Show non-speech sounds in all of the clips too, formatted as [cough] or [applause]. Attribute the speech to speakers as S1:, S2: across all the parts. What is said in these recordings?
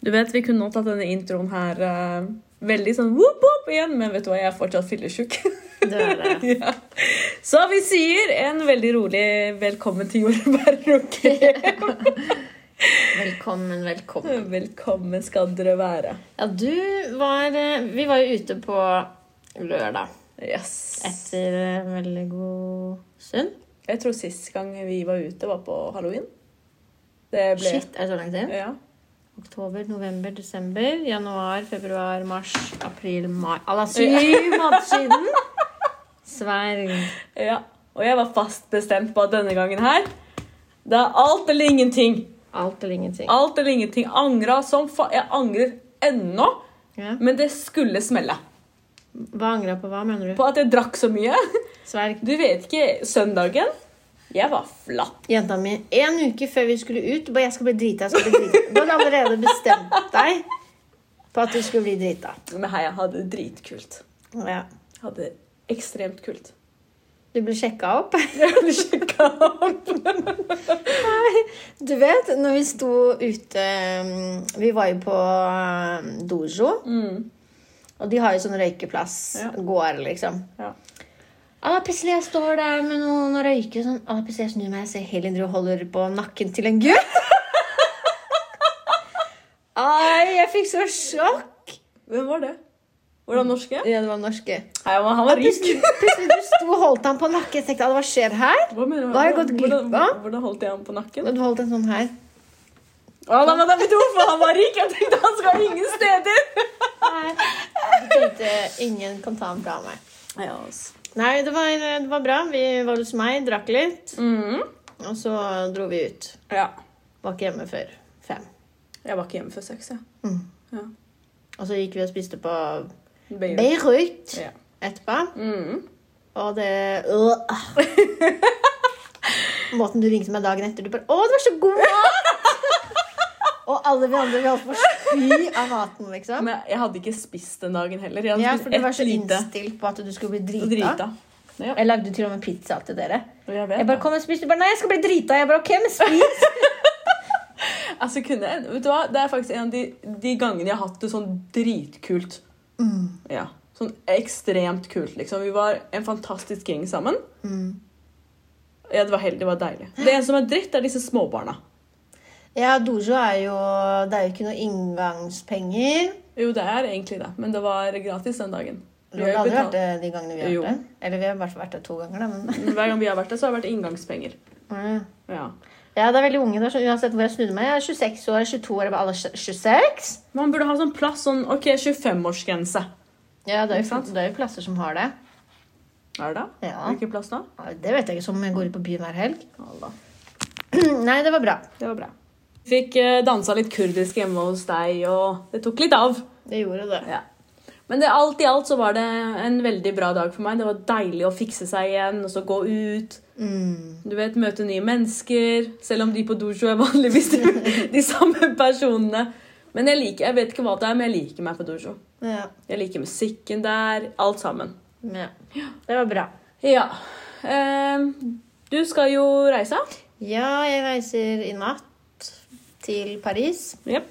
S1: Du vet, vi kunne nå tatt denne introen her eh, veldig sånn whoop, whoop igjen, men vet du hva, jeg er fortsatt fylletjukk.
S2: Du er det.
S1: [laughs] ja. Så vi sier en veldig rolig velkommen til jordbær og krem.
S2: [laughs] Velkommen, velkommen.
S1: Velkommen skal dere være.
S2: Ja, du var eh, Vi var jo ute på lørdag
S1: Yes.
S2: etter en veldig god stund.
S1: Jeg tror sist gang vi var ute, var på halloween. Det ble
S2: Shit, er det så langt inn?
S1: Ja.
S2: Oktober, november, desember, januar, februar, mars, april, mai À la syv måneder siden! Sverg.
S1: ja. Og jeg var fast bestemt på at denne gangen her det er alt eller ingenting.
S2: Alt eller ingenting.
S1: Alt eller ingenting. Angra som fa... Jeg angrer ennå,
S2: Ja.
S1: men det skulle smelle.
S2: Hva angra på hva, mener du?
S1: På at jeg drakk så mye.
S2: Sverg.
S1: Du vet ikke Søndagen Jeg var flatt.
S2: Jenta mi, en uke før vi skulle ut Bare jeg skal bli drita, jeg skal bli drita Du hadde allerede bestemt deg På at du skulle bli drita
S1: Men hei, jeg hadde det dritkult.
S2: ja.
S1: Jeg hadde det ekstremt kult. [laughs]
S2: Du ble sjekka opp [laughs]
S1: Jeg ble sjekka opp.
S2: Du vet, når vi sto ute mm, Vi var jo på mm, dojo
S1: Mm.
S2: Og de har jo sånn røykeplass
S1: Ja.
S2: Gård liksom
S1: Ja.
S2: Ah, plutselig jeg står der med noen og røyker sånn. Ah, plutselig jeg snur meg og ser Helin Drue holder på nakken til en gutt. [laughs] Ai, jeg fikk så sjokk.
S1: Hvem var det? Var det han norske?
S2: Ja, det var norske.
S1: Nei, men han var rik.
S2: Plutselig, plutselig du sto og holdt han på nakken. Jeg tenkte, ah, hva skjer her?
S1: Hva mener du?
S2: Hva har jeg gått glipp av?
S1: Hvordan, hvordan holdt jeg ham på nakken?
S2: Og du holdt en sånn her.
S1: Å, nei, men det [laughs] er for han var rik. Jeg tenkte han skal ingen steder.
S2: Jeg tenkte, ingen kan ta ham fra meg.
S1: Ja, altså.
S2: Nei, det var, det var bra. Vi var hos meg, drakk litt.
S1: Mm.
S2: Og så dro vi ut.
S1: Ja.
S2: Var ikke hjemme før fem.
S1: Jeg var ikke hjemme før seks, jeg.
S2: Mm.
S1: Ja.
S2: Og så gikk vi og spiste på
S1: Beirut.
S2: Beirut
S1: Ja.
S2: etterpå.
S1: Mm.
S2: Og det øh. Måten du ringte meg dagen etter Du bare 'Å, det var så god mat!' og alle vi andre vi holdt på å spy av maten, liksom.
S1: Men jeg hadde ikke spist den dagen heller. Jeg hadde
S2: Ja,
S1: spist
S2: for du var
S1: ett
S2: så
S1: lite.
S2: innstilt på at du skulle bli
S1: Og
S2: drita.
S1: drita. Ja,
S2: Jeg lagde til og med pizza til dere.
S1: og jeg vet
S2: Jeg bare
S1: det.
S2: kom og spiste. Du bare 'Nei, jeg skal bli drita'. Jeg bare 'OK, men spis'.
S1: Altså, kunne jeg, vet du hva? Det er faktisk en av de, de gangene jeg har hatt det sånn dritkult. Ja, sånn ekstremt kult, liksom. Vi var en fantastisk gjeng sammen. Ja, det var heldig, det var deilig. Det eneste som er dritt, er disse småbarna.
S2: Ja, dojo er jo Det er jo ikke noe inngangspenger.
S1: Jo, det er egentlig det, men det var gratis den dagen. Vi
S2: Du
S1: har
S2: har
S1: jo
S2: aldri vært
S1: betalt-
S2: det de gangene vi har
S1: Jo.
S2: vært det? Eller vi har bare vært det to ganger, da, men Mm.
S1: Hver gang vi har vært der, så har det vært inngangspenger. Ja.
S2: Ja, det er veldig unge der, så uansett hvor jeg snudde meg. Jeg er 26 år, 22 år, jeg bare alle er 26.
S1: Man burde ha sånn plass, sånn OK, 25-årsgrense.
S2: Ja, det er,
S1: Ikke
S2: jo,
S1: sant?
S2: det er jo plasser som har det.
S1: Er det det?
S2: Ja.
S1: Hvilken plass da?
S2: Ja, Det vet jeg ikke, som om jeg går ut på byen hver helg. [clears throat]
S1: Allah.
S2: Nei, det var bra.
S1: Det var bra. Fikk eh, dansa litt kurdisk hjemme hos deg, og det tok litt av.
S2: Det gjorde det.
S1: Ja. Men det, alt i alt så var det en veldig bra dag for meg. Det var deilig å fikse seg igjen og så gå ut.
S2: Mm.
S1: Du vet, Møte nye mennesker. Selv om de på dojo er vanligvis de, de samme personene. Men jeg liker, jeg vet ikke hva det er, men jeg liker meg på dojo.
S2: Ja.
S1: Jeg liker musikken der. Alt sammen.
S2: ja. Det var bra.
S1: Ja. Ehm, du skal jo reise.
S2: Ja, jeg reiser i natt til Paris,
S1: Jepp.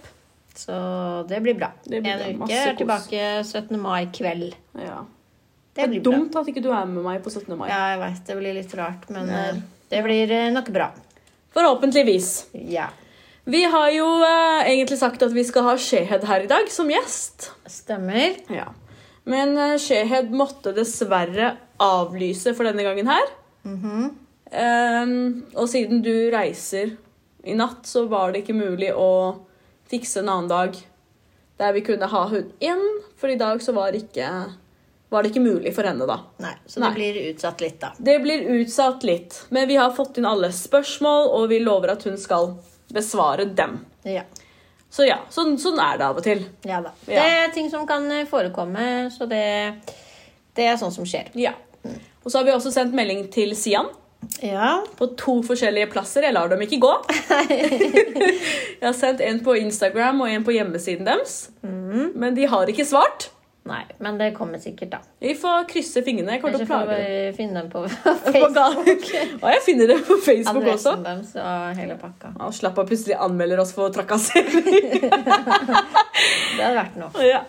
S2: så det blir bra.
S1: Det blir bra.
S2: en uke.
S1: Masse
S2: Jeg er
S1: kos.
S2: tilbake 17. mai kveld.
S1: Ja.
S2: Det
S1: Det
S2: blir
S1: er
S2: bra.
S1: dumt at ikke du er med meg på 17. mai.
S2: Ja, jeg vet, det blir litt rart, men
S1: Ja.
S2: eh, det blir eh, nok bra.
S1: Forhåpentligvis.
S2: Ja.
S1: Vi har jo eh, egentlig sagt at vi skal ha Shehed her i dag som gjest.
S2: Stemmer.
S1: Ja. Men eh, Shehed måtte dessverre avlyse for denne gangen her.
S2: Mhm.
S1: Ehm, og siden du reiser i natt, så var det ikke mulig å fikse en annen dag der vi kunne ha hun inn, for i dag så var, ikke, var det ikke mulig for henne, da.
S2: Nei, så
S1: Nei.
S2: det blir utsatt litt, da.
S1: Det blir utsatt litt, men vi har fått inn alle spørsmål, og vi lover at hun skal besvare dem.
S2: Ja.
S1: Så ja, sånn, sånn er det av og til.
S2: Ja da.
S1: Ja.
S2: Det er ting som kan eh, forekomme, så det, det er sånt som skjer.
S1: Ja. Og så har vi også sendt melding til Sian.
S2: Ja.
S1: på to forskjellige plasser. Jeg lar dem ikke gå.
S2: [laughs] Mm.
S1: jeg har sendt en på Instagram og en på hjemmesiden deres. Men de har ikke svart.
S2: Nei, men det kommer sikkert, da.
S1: Vi får krysse fingrene. Jeg kommer til
S2: Kanskje
S1: å
S2: får
S1: plage deg.
S2: vi finne dem [laughs] på
S1: På
S2: Facebook. [laughs]
S1: gal- Og jeg finner det på Facebook også.
S2: Adressen deres og hele pakka.
S1: Han slapp av plutselig anmelder oss for
S2: [laughs]
S1: trakassering.
S2: Det hadde vært noe.
S1: ja.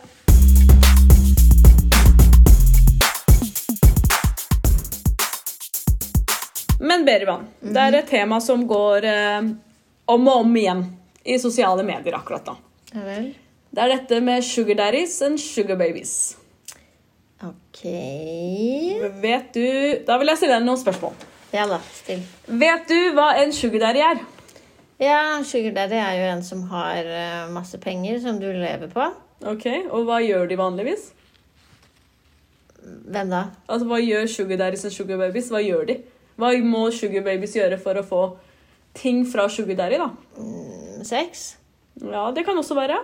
S1: Men Berivan, det
S2: Mhm.
S1: er et tema som går eh, om og om igjen i sosiale medier akkurat nå.
S2: Ja vel.
S1: Det er dette med sugar daddies and sugar babies.
S2: Ok
S1: Vet du, da vil jeg stille deg noen spørsmål.
S2: Ja da, still.
S1: Vet du hva en sugar daddy er?
S2: Ja, sugar daddy er jo en som har eh, masse penger som du lever på.
S1: Ok, Og hva gjør de vanligvis?
S2: Hvem da?
S1: Altså, Hva gjør sugar daddies og sugar babies? Hva gjør de? Hva må sugar babies gjøre for å få ting fra sugar daddy? da?
S2: Mm, Sex?
S1: Ja, Det kan også være.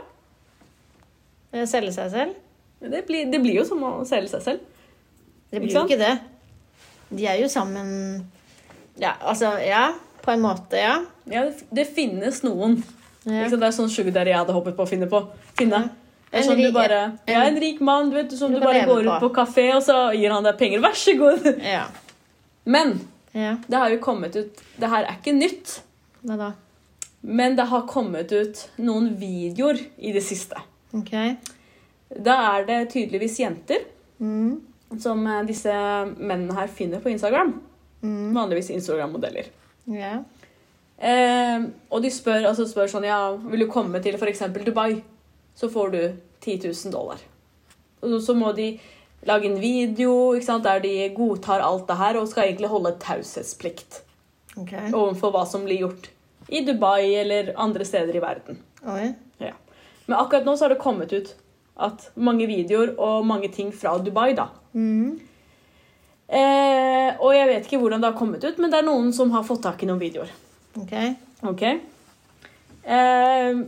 S2: Eh, Selge seg selv?
S1: Det blir, det blir jo som å selge seg selv.
S2: Det
S1: Ikke
S2: blir jo
S1: sant?
S2: ikke det. De er jo sammen Ja, altså Ja, på en måte, ja.
S1: Ja, Det, det finnes noen.
S2: ja.
S1: Ikke sant? Det er sånn sugar daddy jeg hadde håpet på å finne. på. Finne. Det er
S2: En
S1: sånn du
S2: rik-
S1: bare,
S2: en-
S1: ja, En rik mann du vet, som
S2: Du
S1: du
S2: kan
S1: bare
S2: leve
S1: går ut
S2: på.
S1: på kafé, og så gir han deg penger. Vær så god!
S2: Ja.
S1: Men
S2: ja.
S1: det har jo kommet ut Det her er ikke nytt,
S2: Hva da?
S1: men det har kommet ut noen videoer i det siste.
S2: Ok.
S1: Da er det tydeligvis jenter
S2: Mm.
S1: som eh, disse mennene her finner på Instagram.
S2: Mm.
S1: Vanligvis Instagram-modeller.
S2: Ja.
S1: Eh, og de spør, altså spør sånn Ja, vil du komme til f.eks. Dubai? Så får du 10 000 dollar. Og så må de lage en video ikke sant, der de godtar alt det her og skal egentlig holde taushetsplikt
S2: Ok.
S1: overfor hva som blir gjort i Dubai eller andre steder i verden.
S2: Oi.
S1: Ja. Men akkurat nå så har det kommet ut at mange videoer og mange ting fra Dubai, da.
S2: Mm.
S1: Eh, og jeg vet ikke hvordan det har kommet ut, men det er noen som har fått tak i noen videoer.
S2: Ok.
S1: Ok. Eh,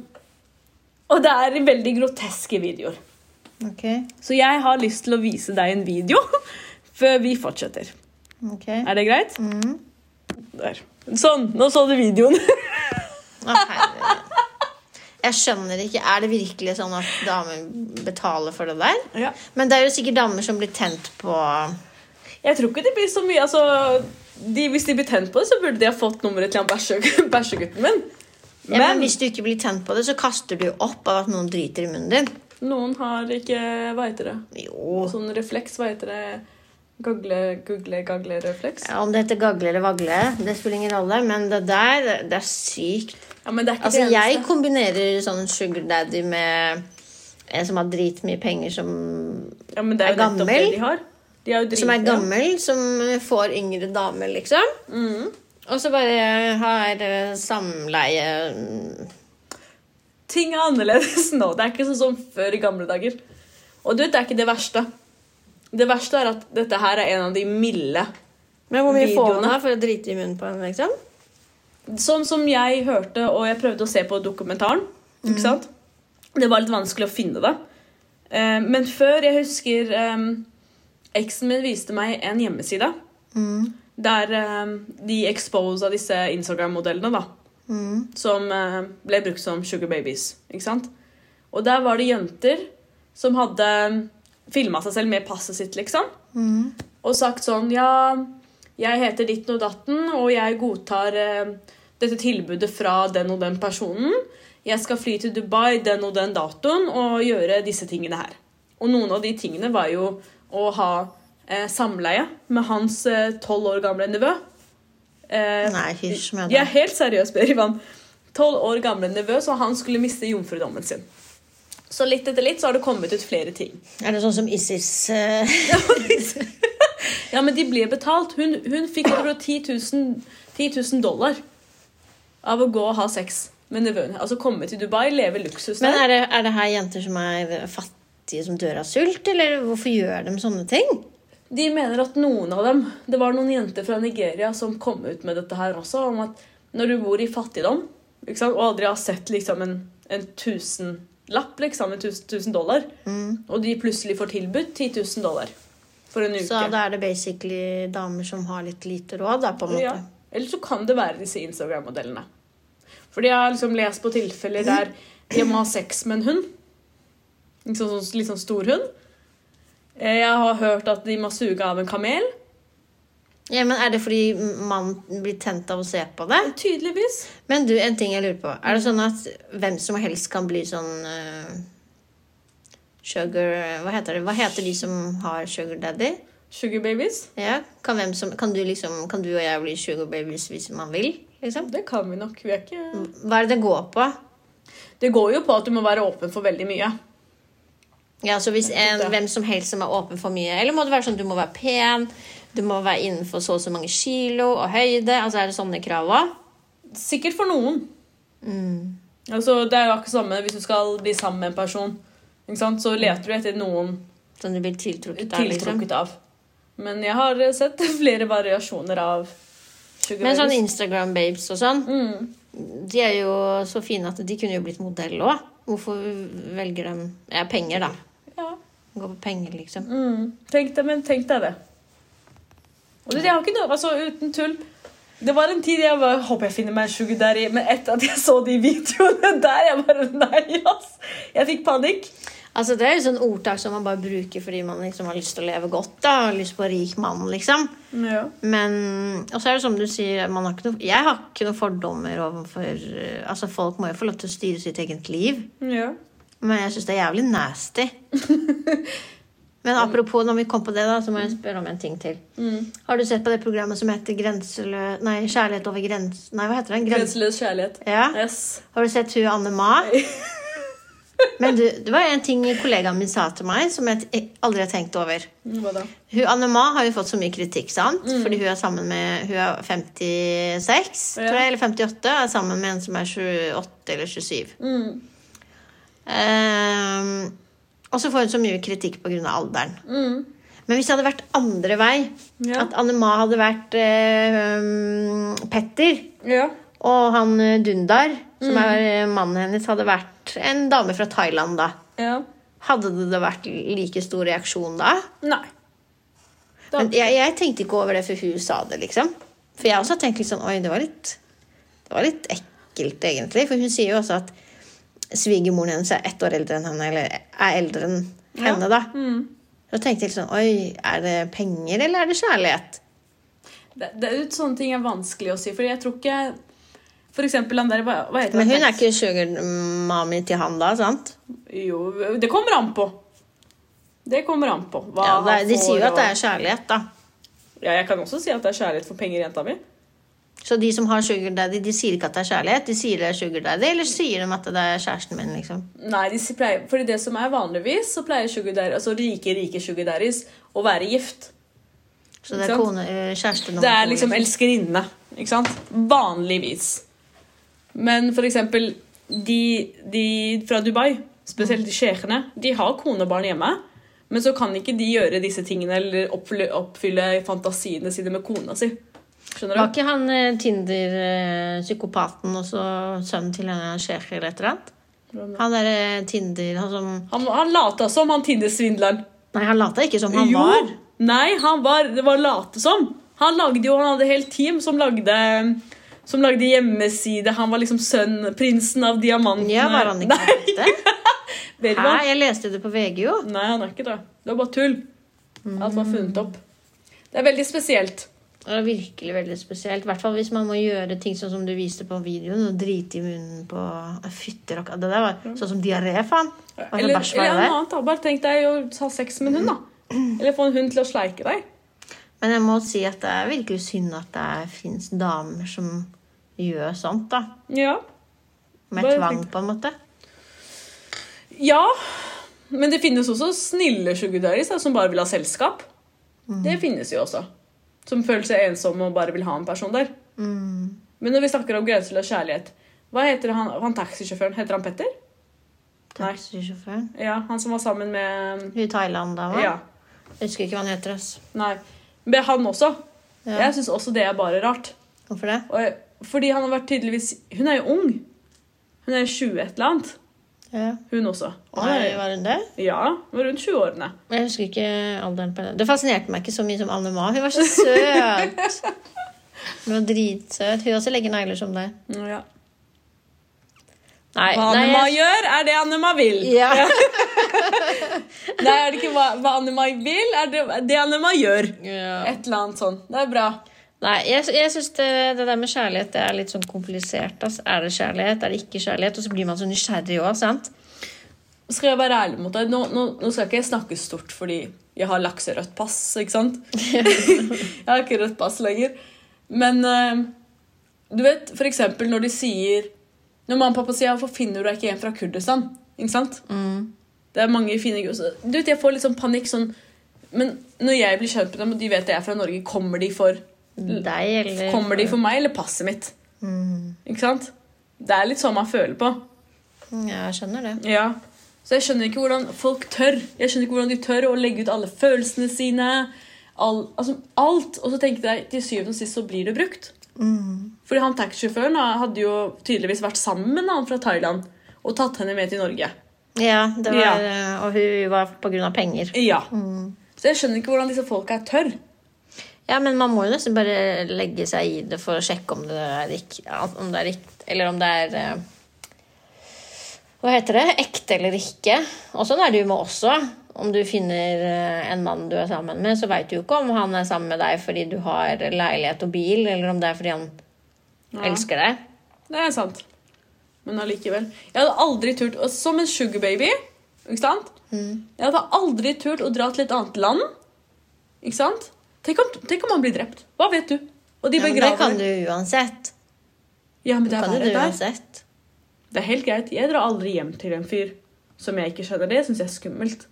S1: og det er veldig groteske videoer.
S2: Ok.
S1: Så jeg har lyst til å vise deg en video [laughs] før vi fortsetter.
S2: Ok.
S1: Er det greit?
S2: Mm.
S1: Der. Sånn, nå så du videoen.
S2: Å, herregud. Jeg skjønner ikke. Er det virkelig sånn at damer betaler for det der?
S1: [laughs] Ja.
S2: Men det er jo sikkert damer som blir tent på
S1: Jeg tror ikke det blir så mye. Altså, de, hvis de blir tent på det, så burde de ha fått nummeret til han bæsje- [laughs] bæsjegutten min.
S2: ja, men
S1: Men
S2: hvis du ikke blir tent på det, så kaster du jo opp av at noen driter i munnen din.
S1: noen har ikke Hva heter det?
S2: Jo.
S1: Sånn refleks, hva heter det? Gagle, gugle, gagle-refleks?
S2: Ja, om det heter gagle eller vagle, det spiller ingen rolle, men det der, det- det er sykt.
S1: Ja, men det er ikke
S2: Altså,
S1: det eneste.
S2: jeg kombinerer sånn sugar daddy med en som har dritmye penger, som,
S1: Ja, men det er jo
S2: Er
S1: nettopp
S2: gammel?
S1: det de har. De er jo
S2: som er
S1: dritbra.
S2: gammel, som får yngre damer, liksom. Og så bare har eh, samleie mm,
S1: Ting er annerledes nå. Det er ikke sånn som før i gamle dager. Og du vet, det er ikke det verste. Det verste er at dette her er en av de milde.
S2: Men hvor mye får
S1: Videoene.
S2: man da for å drite i munnen på henne, liksom?
S1: Sånn som jeg hørte, og jeg prøvde å se på dokumentaren. Ikke sant? Det var litt vanskelig å finne det. Eh, Men før, jeg husker eh, Eksen min viste meg en hjemmeside
S2: Mm.
S1: der eh, de exposa disse Instagram-modellene, da.
S2: Mm.
S1: som eh, ble brukt som sugar babies. Ikke sant? Og der var det jenter som hadde filma seg selv med passet sitt, liksom.
S2: Mm.
S1: Og sagt sånn Ja, jeg heter ditten og datten, og jeg godtar eh, dette tilbudet fra den og den personen. Jeg skal fly til Dubai den og den datoen og gjøre disse tingene her. Og noen av de tingene var jo å ha eh, samleie med hans eh, tolv år gamle nevø. Eh,
S2: Nei, hysj med
S1: jeg er
S2: det.
S1: helt seriøs, Per Ivan. Tolv år gamle nevø, så han skulle miste jomfrudommen sin. Så litt etter litt så har det kommet ut flere ting. [laughs]
S2: Er det sånn som ISIS eh,
S1: Ja, men de ble betalt. Hun, hun fikk over 10 000, 10 000 dollar av å gå og ha sex med nevøen. Altså komme til Dubai, leve luksus
S2: Men
S1: der.
S2: er det, er det her jenter som er fattige som dør av sult, eller hvorfor gjør de sånne ting?
S1: De mener at noen av dem Det var noen jenter fra Nigeria som kom ut med dette her også, om at når du bor i fattigdom ikke sant, og aldri har sett liksom en, en tusenlapp, liksom, en tusen, tusen dollar,
S2: Mm.
S1: og de plutselig får tilbudt 10 000 dollar for en uke
S2: Så da er det basically damer som har litt lite råd, da, på en måte.
S1: Ja. Eller så kan det være disse Instagram-modellene. Fordi jeg har liksom lest på tilfeller der de må ha sex med en hund. Litt sånn, litt sånn stor hund. Eh, Jeg har hørt at de må suge av en kamel.
S2: Ja, men Er det fordi mannen blir tent av å se på det?
S1: Tydeligvis.
S2: Men du, en ting jeg lurer på. Er det sånn at hvem som helst kan bli sånn eh, Sugar Hva heter det? Hva heter de som har sugar daddy?
S1: Sugar babies.
S2: Ja, kan, hvem som, kan, du liksom, kan du og jeg bli sugar babies hvis man vil? Liksom?
S1: Det kan vi nok. Vi er ikke
S2: Hva er det det går på?
S1: Det går jo på at du må være åpen for veldig mye.
S2: Ja, så hvis en, hvem som helst som er åpen for mye Eller må det være sånn du må være pen, du må være innenfor så og så mange kilo og høyde? Altså Er det sånne krav Mm, òg?
S1: Sikkert for noen. Altså, det er jo akkurat samme hvis du skal bli sammen med en person. Ikke sant? Så leter du etter noen
S2: Som du blir tiltrukket av? Liksom.
S1: tiltrukket av. Men jeg har eh, sett [laughs] flere variasjoner av sugar
S2: Men sånn
S1: babies.
S2: Instagram-babes og sånn,
S1: Mm.
S2: de er jo så fine at de kunne jo blitt modell òg. Hvorfor velger de Ja, penger, da.
S1: Ja.
S2: Gå på penger, liksom.
S1: Mm. Tenk deg, men tenk deg det. Og det, jeg har ikke noe, altså uten tull. Det var en tid jeg bare, håper jeg finner meg en sugar daddy, men etter at jeg så de videoene der, jeg bare, nei, ass. Jeg fikk panikk.
S2: Altså Det er jo sånn ordtak som man bare bruker fordi man liksom har lyst til å leve godt. da og Lyst på en rik mann, liksom.
S1: Ja.
S2: Men Og så er det som du sier, man har ikke noe, jeg har ikke noen fordommer overfor eh, Altså Folk må jo få lov til å styre sitt eget liv.
S1: ja.
S2: Men jeg syns det er jævlig nasty. Men apropos når vi kom på det, da, så må jeg spørre om en ting til.
S1: Mm.
S2: Har du sett på det programmet som heter Grenselø... Nei, Kjærlighet over grens... Nei, hva heter den? Grens...
S1: Grenseløs kjærlighet.
S2: Ja.
S1: Yes.
S2: Har du sett hun Anne Ma? Men du, det var en ting kollegaen min sa til meg som jeg t- aldri har tenkt over.
S1: Mm, Hva da?
S2: Hun Anne Ma har jo fått så mye kritikk, sant?
S1: Mm.
S2: Fordi hun er sammen med Hun er 56,
S1: Ja.
S2: tror jeg, eller 58, og er sammen med en som er 28 eller 27.
S1: Mm.
S2: Ehm, og så får hun så mye kritikk pga. alderen.
S1: Mm.
S2: Men hvis det hadde vært andre vei,
S1: Ja.
S2: at Anne Ma hadde vært eh, um, Petter,
S1: Ja.
S2: og han eh, Dundar, som
S1: Mm.
S2: er eh, mannen hennes, hadde vært en dame fra Thailand, da
S1: ja.
S2: hadde det da vært like stor reaksjon da?
S1: Nei. Da-
S2: Men jeg, jeg tenkte ikke over det før hun sa det, liksom. For jeg også tenkte litt sånn Oi, det var litt Det var litt ekkelt, egentlig. For hun sier jo også at svigermoren hennes er ett år eldre enn henne, eller er eldre enn
S1: Ja.
S2: henne, da.
S1: Mm.
S2: Så tenkte jeg litt sånn Oi, er det penger, eller er det kjærlighet?
S1: Det, det, er jo sånne ting er vanskelig å si, for jeg tror ikke For eksempel han der, hva, hva heter
S2: Men
S1: han?
S2: hun er ikke sugar mommy til han da, sant?
S1: Jo, det kommer an på. Det kommer an på. Hva
S2: Ja, det er, de
S1: han får,
S2: sier jo at det
S1: og-
S2: er kjærlighet, da.
S1: Ja, jeg kan også si at det er kjærlighet for penger, jenta mi.
S2: Så de som har sugar daddy, de sier ikke at det er kjærlighet, de sier det er sugar daddy, eller sier de at det er kjæresten min, liksom?
S1: Nei, de si- pleier, fordi det som er vanligvis, så pleier sugar daddy, altså rike, rike sugar daddies å være gift.
S2: Så det
S1: Ikke
S2: er
S1: sant?
S2: kone, eh, kjæreste nummer
S1: Det er
S2: to,
S1: liksom
S2: liksom.
S1: elskerinne, ikke sant? Vanligvis. Men for eksempel de, de fra Dubai, spesielt de sjekhene, de har kone og barn hjemme. Men så kan ikke de gjøre disse tingene eller oppfylle, oppfylle fantasiene sine med kona si. Skjønner du?
S2: Var ikke han eh, Tinder-psykopaten og så sønnen til en sjef eller et eller annet?
S1: Hvem
S2: Han derre Tinder Han som
S1: Han, han lata som han Tinder-svindleren.
S2: Nei, han lata ikke som han var.
S1: Nei, han var, det var late som. Han lagde jo, han hadde helt team som lagde, som lagde hjemmeside. Han var liksom sønn, prinsen av diamantene.
S2: Ja, var han
S1: [laughs]
S2: ikke
S1: Nei,
S2: det?
S1: vet du
S2: Hæ,
S1: hva?
S2: jeg leste det på VG, jo.
S1: Nei, han er ikke det. Det var bare tull.
S2: Mm.
S1: At man har funnet opp. Det er veldig spesielt.
S2: Det er virkelig veldig spesielt. I hvert fall hvis man må gjøre ting sånn som du viste på videoen. Og drite i munnen på Fytter og Det der var sånn som diaré, faen. Hva
S1: Eller,
S2: slags bæsj var
S1: eller noe
S2: det Mm. der?
S1: annet. da. Bare tenk deg å ha sex med en hund, da. Eller få en hund til å sleike deg.
S2: Men jeg må si at det er virkelig synd at det fins damer som gjør sånt, da.
S1: Ja.
S2: Med
S1: Bare
S2: tvang,
S1: tenk-
S2: på en måte.
S1: Ja, men det finnes også snille sugardaddies da, som bare vil ha selskap.
S2: Mhm.
S1: Det finnes jo også. Som føler seg ensomme og bare vil ha en person der.
S2: Mm.
S1: Men når vi snakker om grenseløs kjærlighet Hva heter han, han taxisjåføren? Heter han Petter? Nei.
S2: Taxisjåføren.
S1: Ja, han som var sammen med
S2: I Thailand, da, hva?
S1: Ja.
S2: Jeg Husker ikke hva han heter, ass.
S1: Nei. Men han også.
S2: Ja.
S1: Jeg syns også det er bare rart.
S2: Hvorfor det?
S1: Og, jeg- fordi han har vært tydeligvis Hun er jo ung. Hun er 20 et eller annet.
S2: Ja.
S1: Hun også. Og han
S2: Nei,
S1: er,
S2: var hun det?
S1: ja, var rundt 20-årene.
S2: Jeg husker ikke alderen på henne. Det fascinerte meg ikke så mye som Anne Ma. Hun var så
S1: [laughs]
S2: søt! Hun var dritsøt. Hun også legger negler som deg.
S1: Ja.
S2: Nei,
S1: Hva
S2: nei,
S1: Annema
S2: jeg-
S1: gjør, er det Annema vil.
S2: Ja.
S1: Nei, er det ikke hva, hva Annema vil, er det det Annema gjør.
S2: ja.
S1: Et eller annet sånn. Det er bra.
S2: [laughs] Nei, jeg, jeg syns det, det der med kjærlighet det er litt sånn komplisert. ass. Er det kjærlighet, er det ikke kjærlighet? Og så blir man så nysgjerrig òg, sant?
S1: Skal jeg være ærlig mot deg? Nå, nå, nå skal ikke jeg snakke stort fordi jeg har lakserødt pass, ikke sant? jeg har ikke rødt pass lenger. Men eh, du vet, for eksempel når de sier Når mamma og pappa sier 'Hvorfor finner du deg ikke hjem fra Kurdistan?' Ikke sant? Mm. Det er mange fine gu- så- Du vet, jeg får litt sånn panikk sånn Men når jeg blir kjent med dem, og de vet jeg er fra Norge, kommer de for
S2: Deg, eller Mm.
S1: Kommer de for meg eller passet mitt? Ikke sant? Det er litt sånn man føler på.
S2: Ja, jeg skjønner det.
S1: Ja. Så jeg skjønner ikke hvordan folk tør. Jeg skjønner ikke hvordan de tør å legge ut alle følelsene sine. All, altså alt. Og så tenkte jeg til syvende og sist så blir det brukt. Fordi han taxisjåføren da, hadde jo tydeligvis vært sammen med han fra Thailand og tatt henne med til Norge.
S2: Ja, det var,
S1: Ja.
S2: eh, Og hun var på grunn av penger.
S1: Ja. Så jeg skjønner ikke hvordan disse folka er tørr.
S2: Ja, men man må jo nesten bare legge seg i det for å sjekke om det er riktig ja, om det er rikt- Eller om det er eh, Hva heter det? Ekte eller ikke. Og sånn er det jo med oss også. Om du finner eh, en mann du er sammen med, så veit du jo ikke om han er sammen med deg fordi du har leilighet og bil, eller om det er fordi han elsker deg.
S1: Det er sant. Men allikevel. Jeg hadde aldri turt og Som en sugarbaby. Ikke sant? Jeg hadde aldri turt å dra til et annet land. Ikke sant? Tenk om, tenk om han blir drept. Hva vet du? Og de
S2: Ja, men det
S1: begraver
S2: kan du uansett.
S1: Ja, men det er
S2: Kan du
S1: verre
S2: det
S1: der.
S2: uansett.
S1: Det er helt greit. Jeg drar aldri hjem til en fyr som jeg ikke skjønner. Det syns jeg er skummelt.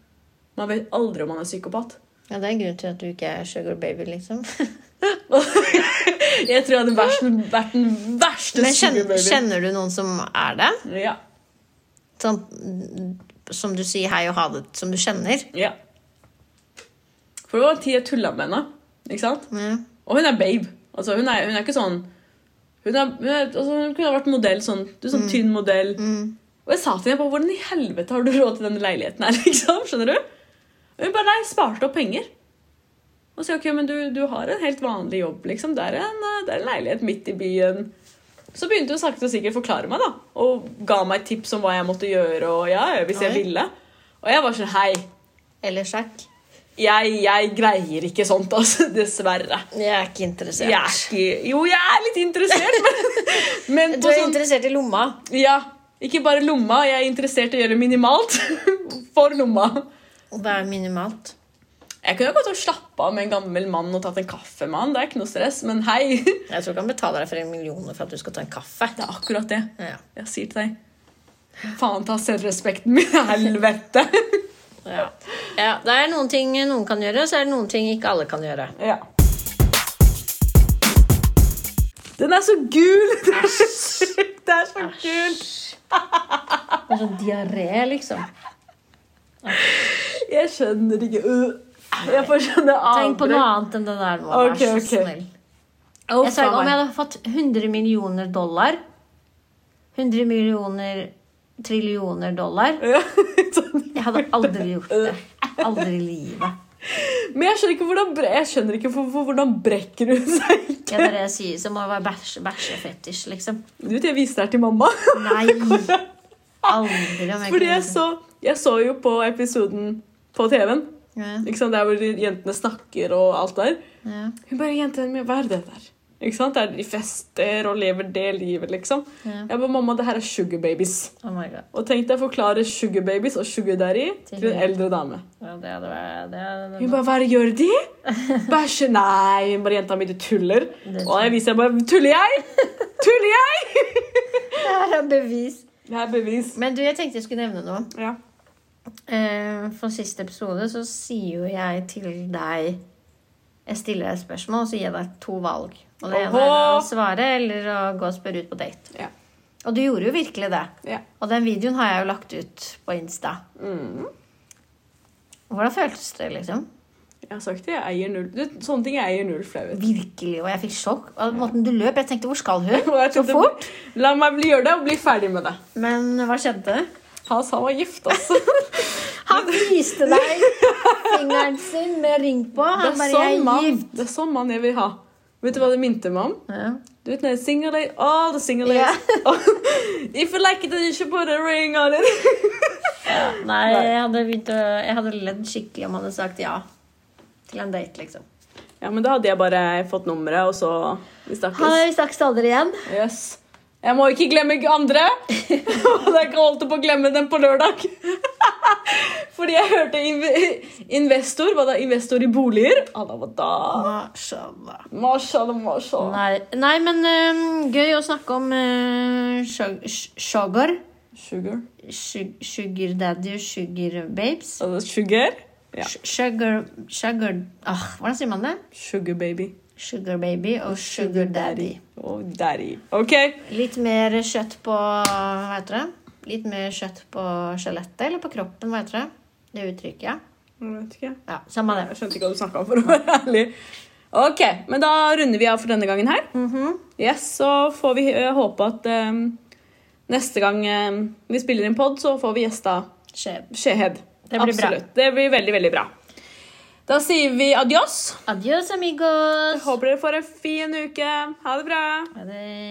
S1: Man vet aldri om han er psykopat.
S2: Ja, det er en grunn til at du ikke er sugar baby, liksom.
S1: Jeg tror jeg hadde vært den, vært den verste
S2: Men kjenner,
S1: sugarbabyen.
S2: kjenner du noen som er det?
S1: Ja.
S2: Sånn, som du sier hei og ha det, som du kjenner?
S1: ja. For det var en tid jeg tulla med henne. Ikke sant?
S2: Ja.
S1: Og hun er babe. Altså, hun, er, hun er ikke sånn Hun, er, hun, er, altså, hun kunne ha vært modell sånn. Du er sånn
S2: Mm.
S1: tynn modell. Og jeg sa til henne bare, hvordan i helvete har du råd til denne leiligheten her? [laughs] liksom, skjønner du? Og hun bare nei, sparte opp penger. Og så jeg, ok, men du, du har en helt vanlig jobb, liksom. Det er, en, eh, det er en leilighet midt i byen. Så begynte hun sakte og sikkert å forklare meg, da. Og ga meg tips om hva jeg måtte gjøre, og ja, hvis jeg
S2: Oi.
S1: ville. Og jeg var sånn hei,
S2: Eller sjakk?
S1: jeg, jeg greier ikke sånt, [laughs] altså. Dessverre.
S2: Jeg er ikke interessert.
S1: Jeg er ikke Jo, jeg er litt interessert, men, [laughs] men
S2: Du
S1: på
S2: er
S1: sånn,
S2: interessert i lomma.
S1: ja, Ikke bare lomma. Jeg er interessert i å gjøre minimalt [laughs] for lomma.
S2: Hva er minimalt?
S1: Jeg kunne godt ha slappe av med en gammel mann og tatt en kaffe med han. Det er ikke noe stress, men hei. [laughs] Det
S2: Jeg tror ikke han betaler deg for en million for at du skal ta en kaffe.
S1: er akkurat det
S2: Ja.
S1: jeg sier til deg. Faen ta selvrespekten min. [laughs] Helvete.
S2: Ja. Ja, det er noen ting noen kan gjøre, så er det noen ting ikke alle kan gjøre.
S1: Ja. Den er så gul! [laughs] Det er så sykt. Det er så gult!
S2: Det er sånn diaré, liksom.
S1: Jeg skjønner ikke Øh. Jeg får skjønne
S2: Tenk på noe
S1: avbrekk.
S2: annet enn Ah, det der. Nå.
S1: Ok,
S2: Vær så
S1: ok.
S2: snill.
S1: Å,
S2: Jeg sa
S1: faen
S2: ikke om
S1: meg.
S2: jeg hadde fått 100 millioner dollar 100 millioner trillioner dollar
S1: Ja, sånn.
S2: Jeg hadde
S1: [laughs]
S2: aldri gjort det. Aldri i livet.
S1: Men jeg skjønner ikke hvordan, bre jeg skjønner ikke for, for, hvordan brekker hun seg.
S2: Det er det jeg sier, så må det være bæsje- bæsjefetisj, liksom.
S1: Du vet, jeg viste det her til mamma. [laughs]
S2: Nei! Aldri om jeg
S1: Fordi
S2: kunne
S1: jeg så, jeg så jo på episoden på TV-en.
S2: ja,
S1: Ikke sant? Der hvor de jentene snakker og alt der.
S2: ja,
S1: Hun bare Jentene mine, hva er det der? Ikke sant? Der de fester og lever det livet, liksom.
S2: ja.
S1: Jeg bare Mamma, det her er sugar babies.
S2: Oh my god.
S1: Og tenk deg å forklare sugar babies og sugar daddy til en eldre dame.
S2: Ja, det hadde vært det hadde,
S1: [laughs] Hun bare 'Hva er det, gjør de?' Bæsje Nei, hun bare 'Jenta mi, du tuller'. Og jeg viser jeg bare 'Tuller jeg?! Tuller jeg?!
S2: Det her er bevis.
S1: Det er bevis.
S2: Men du, jeg tenkte jeg skulle nevne noe.
S1: Ja.
S2: Eh, For siste episode så sier jo jeg til deg Jeg stiller deg et spørsmål, og så gir jeg deg to valg. Og det ene er å
S1: Oho.
S2: svare eller å gå og spørre ut på date.
S1: Ja.
S2: Og du gjorde jo virkelig det.
S1: Ja.
S2: Og den videoen har jeg jo lagt ut på Insta. Mm. Hvordan føltes det, liksom?
S1: Jeg har sagt det. Jeg eier null du, Sånne ting jeg eier null [laughs] flauhet.
S2: Virkelig. Og jeg fikk sjokk. Og måten du løp, jeg tenkte 'hvor skal hun?'
S1: Og jeg
S2: Så
S1: tenkte,
S2: fort.
S1: La meg bli, gjøre det og bli ferdig med det.
S2: [laughs] Men hva skjedde?
S1: Han sa han var gift, altså.
S2: Han viste deg fingeren sin med ring på.
S1: Det
S2: [laughs] Han
S1: er
S2: bare
S1: sånn
S2: 'jeg er
S1: mann,
S2: gift'.
S1: det er sånn mann jeg vil ha. Vet du hva det minte meg om?
S2: Ja.
S1: Du Du vet når det er single day, all the single days. [laughs] If you like it, you should put a ring on it.
S2: Nei, jeg hadde, begynt å, jeg hadde ledd skikkelig om han hadde sagt ja til en date, liksom.
S1: Ja, men da hadde jeg bare fått nummeret, og så Vi snakkes.
S2: Hei, vi snakkes aldri igjen.
S1: Yes. Jeg må ikke glemme andre. Og jeg holdt på å glemme dem på lørdag. Fordi jeg hørte inv- investor. Hva da? Investor i boliger? Allah, hva da?
S2: Mashallah.
S1: Mashallah, mashallah.
S2: Nei, nei men øhm, gøy å snakke om øh, shog- sh- sugar.
S1: Sugar.
S2: Shug- Sugar daddy og sugar babes.
S1: Altså, sugar? Ja.
S2: Sh- Sugar Sugar ah, Hvordan sier man det?
S1: Sugar baby.
S2: Sugar baby og sugar daddy.
S1: Oh, daddy. OK.
S2: Litt mer kjøtt på Hva heter det? Litt mer kjøtt på skjelettet eller på kroppen, hva heter det? Det uttrykket.
S1: Jeg vet ikke.
S2: Ja, samme det.
S1: Jeg skjønte ikke hva du snakka om, for å være ærlig. Ok, men da runder vi av for denne gangen her. Yes, Så får vi eh, håpe at eh, neste gang eh, vi spiller en pod, så får vi gjesta
S2: Skjev.
S1: Skjehed.
S2: Det blir bra.
S1: Absolutt. Det blir veldig, veldig bra. Da sier vi adios.
S2: Adios, amigos.
S1: Håper dere får en fin uke. Ha det bra.
S2: Ha det.